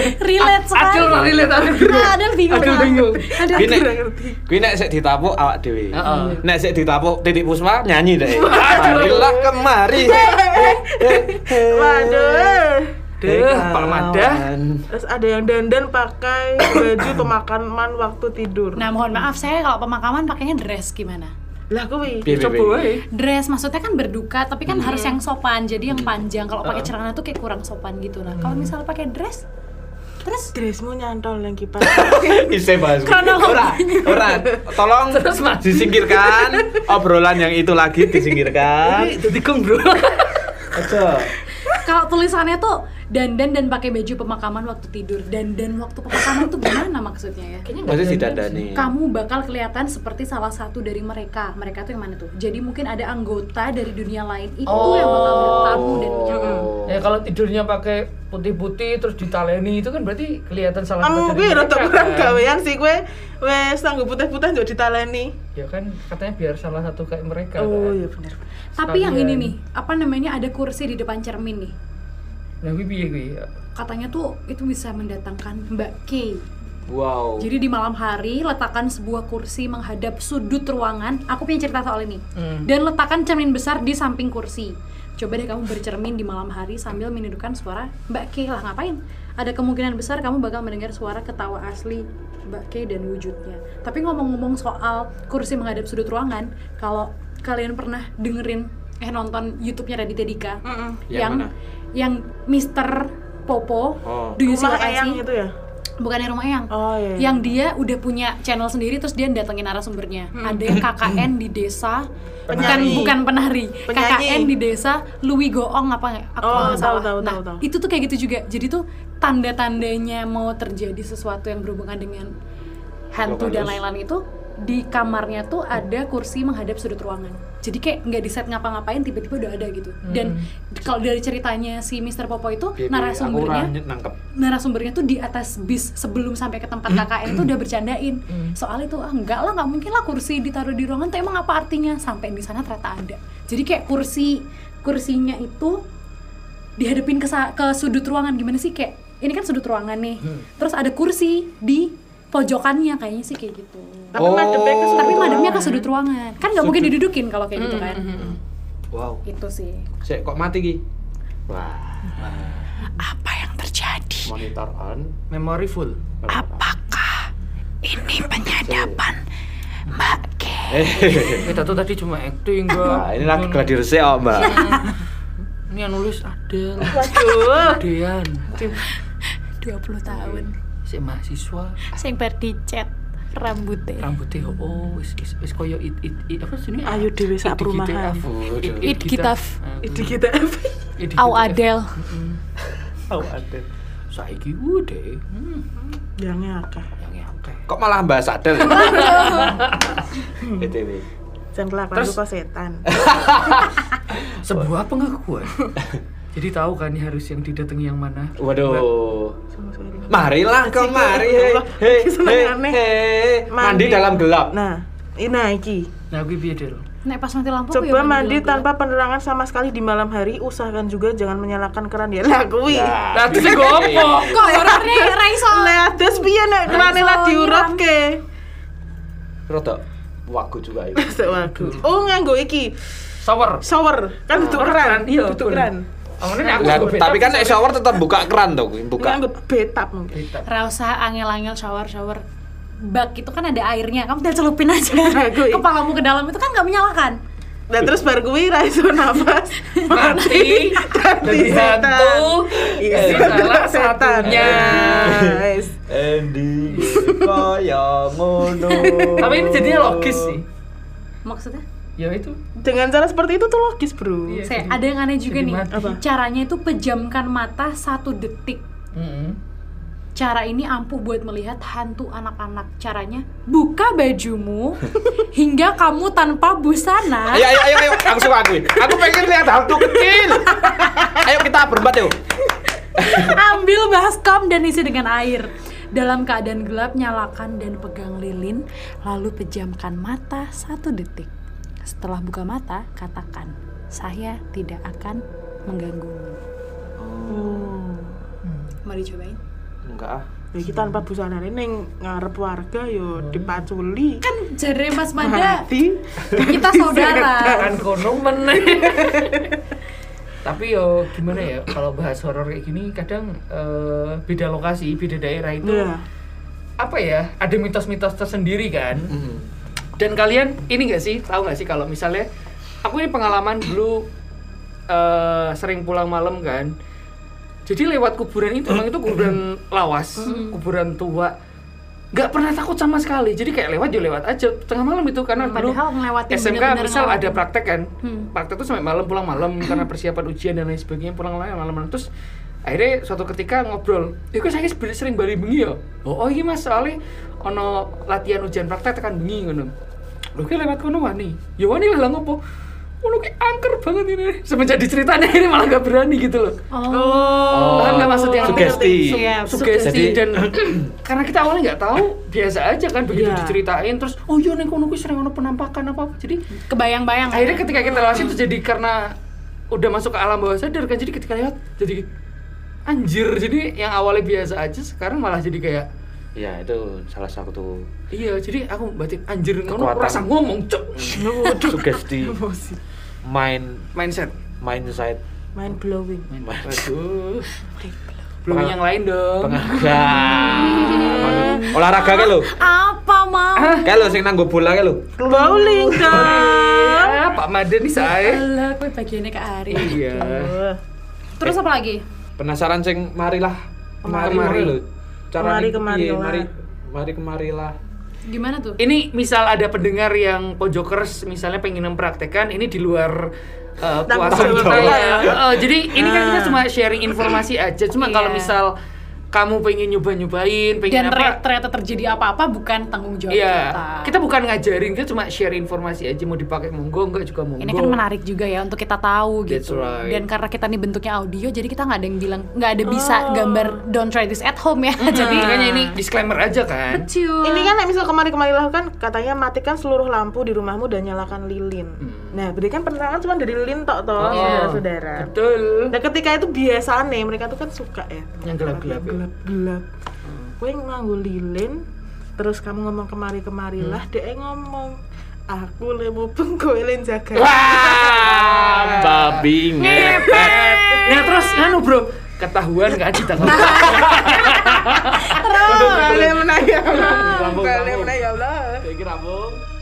D: Relate sekali.
C: Acil lah relate, acil bingung.
D: Nah, Adel bingung.
C: Acil bingung.
D: Adel
A: Kuwi nek
B: Kurang ngerti.
A: kuwi nek sik ditapuk awak dhewe.
C: Heeh.
A: Nek sik ditapuk titik puspa nyanyi deh. Marilah kemari.
B: Waduh.
C: Deh, Palmada.
B: Terus ada yang dandan pakai baju pemakaman waktu tidur.
D: Nah, mohon maaf saya kalau pemakaman pakainya dress gimana?
B: lah kui.
A: Piye, piye,
C: Coba
A: piye.
C: wae.
D: dress maksudnya kan berduka tapi kan harus yang sopan jadi yang panjang kalau pakai celana tuh kayak kurang sopan gitu nah kalau misalnya pakai dress terus
B: Dressmu nyantol yang kipas.
A: Isih bahas. kuwi. Ora,
D: Kronologi.
A: ora. Tolong
C: Terus, Mas.
A: disingkirkan obrolan yang itu lagi disingkirkan.
C: Jadi kong bro.
A: Aja.
D: kalau tulisannya tuh dandan dan pakai baju pemakaman waktu tidur dandan waktu pemakaman tuh gimana maksudnya ya
A: Masih didandani.
D: kamu bakal kelihatan seperti salah satu dari mereka mereka tuh yang mana tuh jadi mungkin ada anggota dari dunia lain itu yang bakal bertamu
A: Oh.
D: dan menyapa
C: Ya kalau tidurnya pakai putih-putih terus ditaleni itu kan berarti kelihatan salah
B: Kamu
C: satu
B: kui
C: dari
B: rada
C: mereka,
B: kurang
C: kan?
B: gawean sih kue. Wes tangguh putih-putih jadi ditaleni.
C: Ya kan katanya biar salah satu kayak mereka.
B: Oh
C: kan?
B: iya bener.
D: tapi yang ini
C: Sekalian.
D: nih apa namanya ada kursi di depan cermin nih
C: Nah, gue piye gue?
D: katanya tuh itu bisa mendatangkan Mbak Kay
A: Wow.
D: Jadi di malam hari letakkan sebuah kursi menghadap sudut ruangan. Aku punya cerita soal ini.
C: Hmm.
D: Dan letakkan cermin besar di samping kursi. Coba deh kamu bercermin di malam hari sambil menirukan suara Mbak K lah ngapain? Ada kemungkinan besar kamu bakal mendengar suara ketawa asli Mbak K dan wujudnya. Tapi ngomong-ngomong soal kursi menghadap sudut ruangan, kalau kalian pernah dengerin eh nonton YouTube-nya Raditya Dika
A: Yang
D: yang
A: mana?
D: yang Mister Popo,
A: Oh.
D: Do You See
B: Rumah
D: What I
B: eyang
D: See?
B: itu ya.
D: bukannya rumah eyang
B: Oh iya.
D: yang dia udah punya channel sendiri terus dia datengin narasumbernya
B: Hmm.
D: ada yang KKN di desa
B: Penyanyi.
D: bukan bukan penari
B: Penyanyi.
D: KKN di desa Louis Goong apa nggak aku
B: Oh,
D: nggak salah
B: tahu, tahu,
D: nah
B: tahu, tahu.
D: itu tuh kayak gitu juga jadi tuh tanda tandanya mau terjadi sesuatu yang berhubungan dengan hantu dan
A: Lokalus.
D: lain-lain itu di kamarnya tuh ada kursi menghadap sudut ruangan jadi kayak nggak di set ngapa-ngapain tiba-tiba udah ada gitu dan kalau dari ceritanya si Mr. Popo itu
A: Bibi, aku
D: narasumbernya
A: orang nangkep
D: narasumbernya tuh di atas bis sebelum sampai ke tempat KKN tuh udah bercandain soal itu ah, enggak lah nggak mungkin lah kursi ditaruh di ruangan tuh emang apa artinya sampai di sana ternyata ada jadi kayak kursi kursinya itu dihadapin ke, sa- ke sudut ruangan gimana sih kayak ini kan sudut ruangan nih terus ada kursi di pojokannya kayaknya sih kayak gitu
B: Tapi
A: Oh.
B: madepnya ke sudut
D: tapi
B: ruangan.
D: mademnya ke sudut ruangan kan nggak mungkin didudukin kalau kayak gitu kan
A: wow
D: itu sih
A: Sik, kok mati ki wah
D: apa yang terjadi
A: monitor on
E: Memory full.
D: apakah ini
A: penyadapan
D: mbak K
A: Eh,
C: Kita tuh tadi cuma acting
A: Wah,
C: enggak.
A: ini lagi gladi resik oh, Mbak.
C: Ini yang nulis Adel,
B: Waduh.
C: Dean,
D: 20 tahun
C: si mahasiswa,
D: sing di cat rambutnya
C: rambutnya ho oh, wis wis wis koyo it it it apa sini?
B: Ayu Dewi sak
C: gitu
B: perumahan.
D: It Gitaf.
B: Itu kita apa?
C: gitu
D: Au Adel
A: Tahu Adel.
C: Saiki udah. Hmm,
B: Bilangnya akeh.
C: yang akeh.
A: Kok malah bahas Adel? ETW.
B: Jangan kelakuan
C: Terus-
B: lu kok setan.
C: Sebuah pengakuan. Jadi tahu kan ini harus yang didatangi yang mana?
A: Waduh.
B: Sama sekali.
A: Marilah kau mari hei
B: Allah,
A: hei hei,
B: senengane.
A: hei. Mandi dalam gelap.
B: Nah, ini nah, iki.
C: Nah, gue piye, Del?
D: Nek pas mati lampu aku
B: Coba
D: ya
B: mandi
D: gelap-gelap.
B: tanpa penerangan sama sekali di malam hari. Usahakan juga jangan menyalakan keran ya. Lah kuwi.
A: Ya.
C: Lah, itu sih gopo.
A: Iya.
D: Kok ya orangnya Raiso
B: Lah terus piye
C: Nah,
B: nek kerane lah
D: Iso
B: diurutke?
A: Rodok wagu juga itu.
B: Sok wagu. Oh nganggo iki.
C: Shower.
B: Shower. Kan tutup keran.
C: iya,
B: Tutup
C: betul.
B: keran.
C: Awalnya nek aku
A: Lah,
C: juga
A: tapi
C: beda.
A: kan nek shower tetap buka keran tuh, buka.
B: Nganggo betap mungkin.
C: Beda.
D: Rausa angel-angel shower-shower bak itu kan ada airnya kamu tinggal celupin aja
B: Gue-
D: kepalamu ke dalam itu kan nggak menyalakan
C: Iya.
B: Dan terus bar kuwi ra iso nafas.
C: mati
B: Mati
C: jadi
B: setan.
C: hantu
B: Iya,
C: Eh, salah
B: setan.
C: satunya.
B: Nah, wes.
A: Endi kaya ngono.
C: tapi ini jadinya logis sih
D: maksudnya
C: ya itu
B: Dengan cara seperti itu tuh logis, Bro.
C: Iya.
D: saya
C: jadi-
D: ada yang aneh juga
C: jadi
D: nih
C: mati.
B: Apa?
D: caranya itu pejamkan mata satu detik Cara ini ampuh buat melihat hantu anak-anak. Caranya buka bajumu hingga kamu tanpa busana.
A: Ayo, ayo, ayo, ayo, iya, aku suka aku. Aku pengen lihat hantu kecil. Ayo kita berempat yuk.
D: Ambil baskom dan isi dengan air. Dalam keadaan gelap, nyalakan dan pegang lilin, lalu pejamkan mata satu detik. Setelah buka mata, katakan, saya tidak akan mengganggumu. Mau dicobain?
A: Enggak ah.
B: Ya iki tanpa busana ning ngarep warga yo dipaculi.
D: Kan jare Mas
B: Iya.
D: Manda,
B: Mati.
D: kita saudara.
C: kan kono meneh tapi yo gimana ya kalau bahas horor kayak gini kadang eh, beda lokasi beda daerah itu
B: Iya.
C: apa ya ada mitos-mitos tersendiri kan
D: Mm.
C: dan kalian ini nggak sih tahu nggak sih kalau misalnya aku ini pengalaman dulu eh, sering pulang malam kan jadi lewat kuburan itu emang itu kuburan lawas
D: Mm.
C: kuburan tua nggak pernah takut sama sekali jadi kayak lewat ya lewat aja tengah malam itu karena dulu
D: Padahal ngelewatin
C: SMK
D: bener-bener
C: misal
D: ngelewatin.
C: ada praktek kan
D: Hmm.
C: praktek tuh sampai malam pulang malam karena persiapan ujian dan lain sebagainya pulang malam malam terus akhirnya suatu ketika ngobrol itu saya sering- sering bali bengi ya oh, oh iya mas soalnya ono latihan ujian praktek tekan bengi ngono lho ki lewat kono wani ya wani lah lah ngopo ngono ki angker banget ini semenjak diceritanya ini malah gak berani gitu loh
D: Oh,
C: paham nggak maksud yang
A: sugesti.
D: Iya,
C: sugesti
A: sugesti.
C: dan karena kita awalnya nggak tahu biasa aja kan begitu
B: Iya.
C: diceritain terus oh iya neng kono ki sering ono penampakan apa apa jadi
D: kebayang-bayang.
C: akhirnya ketika kita lewat itu jadi karena udah masuk ke alam bawah sadar kan jadi ketika lewat jadi anjir jadi yang awalnya biasa aja sekarang malah jadi kayak
A: Ya itu salah satu
C: iya jadi aku batin anjir ngono
A: Kekuatan.
C: rasa ngomong cok
A: sugesti
B: Emosi.
A: mind
C: mindset
A: mindset
B: Mind blowing.
C: aduh belum yang lain dong
A: penghargaan. Olahraga ke lo.
D: Apa, Mam?
C: Ah.
A: Kayak lo sing nanggo bola ke lo.
B: Bowling dong.
C: ah, Pak Maden nih saya
D: Alah, gue bagiannya ke Ari.
C: iya
D: Terus apa lagi?
A: Penasaran sing marilah. Mari
C: Kemari.
A: mari lo. Cara
B: Mari
A: ini
B: kemari
A: piye?
B: lah.
A: mari mari kemarilah.
D: Gimana tuh?
C: ini misal ada pendengar yang pojokers misalnya pengen mempraktekkan ini di luar uh,
B: Tanggung
C: kuasa
B: jawab
C: kita
B: kita
C: ya.
B: ya.
C: Uh, jadi ini kan kita cuma sharing informasi aja cuma kalau
D: Ah. Iya.
C: misal kamu pengen nyoba-nyobain, pengen
D: dan
C: apa?
D: ternyata, ternyata terjadi apa-apa bukan tanggung jawab
C: Iya,
D: kita.
C: kita bukan ngajarin, kita cuma share informasi aja mau dipakai monggo, enggak juga monggo.
D: ini kan menarik juga ya untuk kita tahu
C: That's
D: gitu.
C: right.
D: Dan karena kita nih bentuknya audio, jadi kita nggak ada yang bilang nggak ada bisa gambar
C: Oh.
D: don't try this at home ya.
C: Jadi
D: jadi
C: makanya ini disclaimer aja kan.
D: kecil.
B: Ini kan misal kemarin-kemarin lah kan katanya matikan seluruh lampu di rumahmu dan nyalakan lilin. Nah, berarti kan penerangan cuma dari lilin tok toh,
C: Oh,
D: iya,
B: saudara-saudara.
C: Betul.
B: Nah, ketika itu biasane mereka tuh kan suka ya.
C: Yang gelap-gelap ya.
B: Gelap-gelap. Kowe nganggo lilin, terus kamu ngomong kemari-kemari
C: Hmm.
B: lah, dia ngomong aku le mubeng kowe le jaga.
A: Ah,
C: Wah,
A: babi ngepet.
C: Nah terus anu bro, ketahuan nggak Adit aku?
B: Terus, kalian menang ya Allah.
A: Rambung,
B: Kalian
A: rambung.
B: menang ya Allah.
A: Saya kira Bung.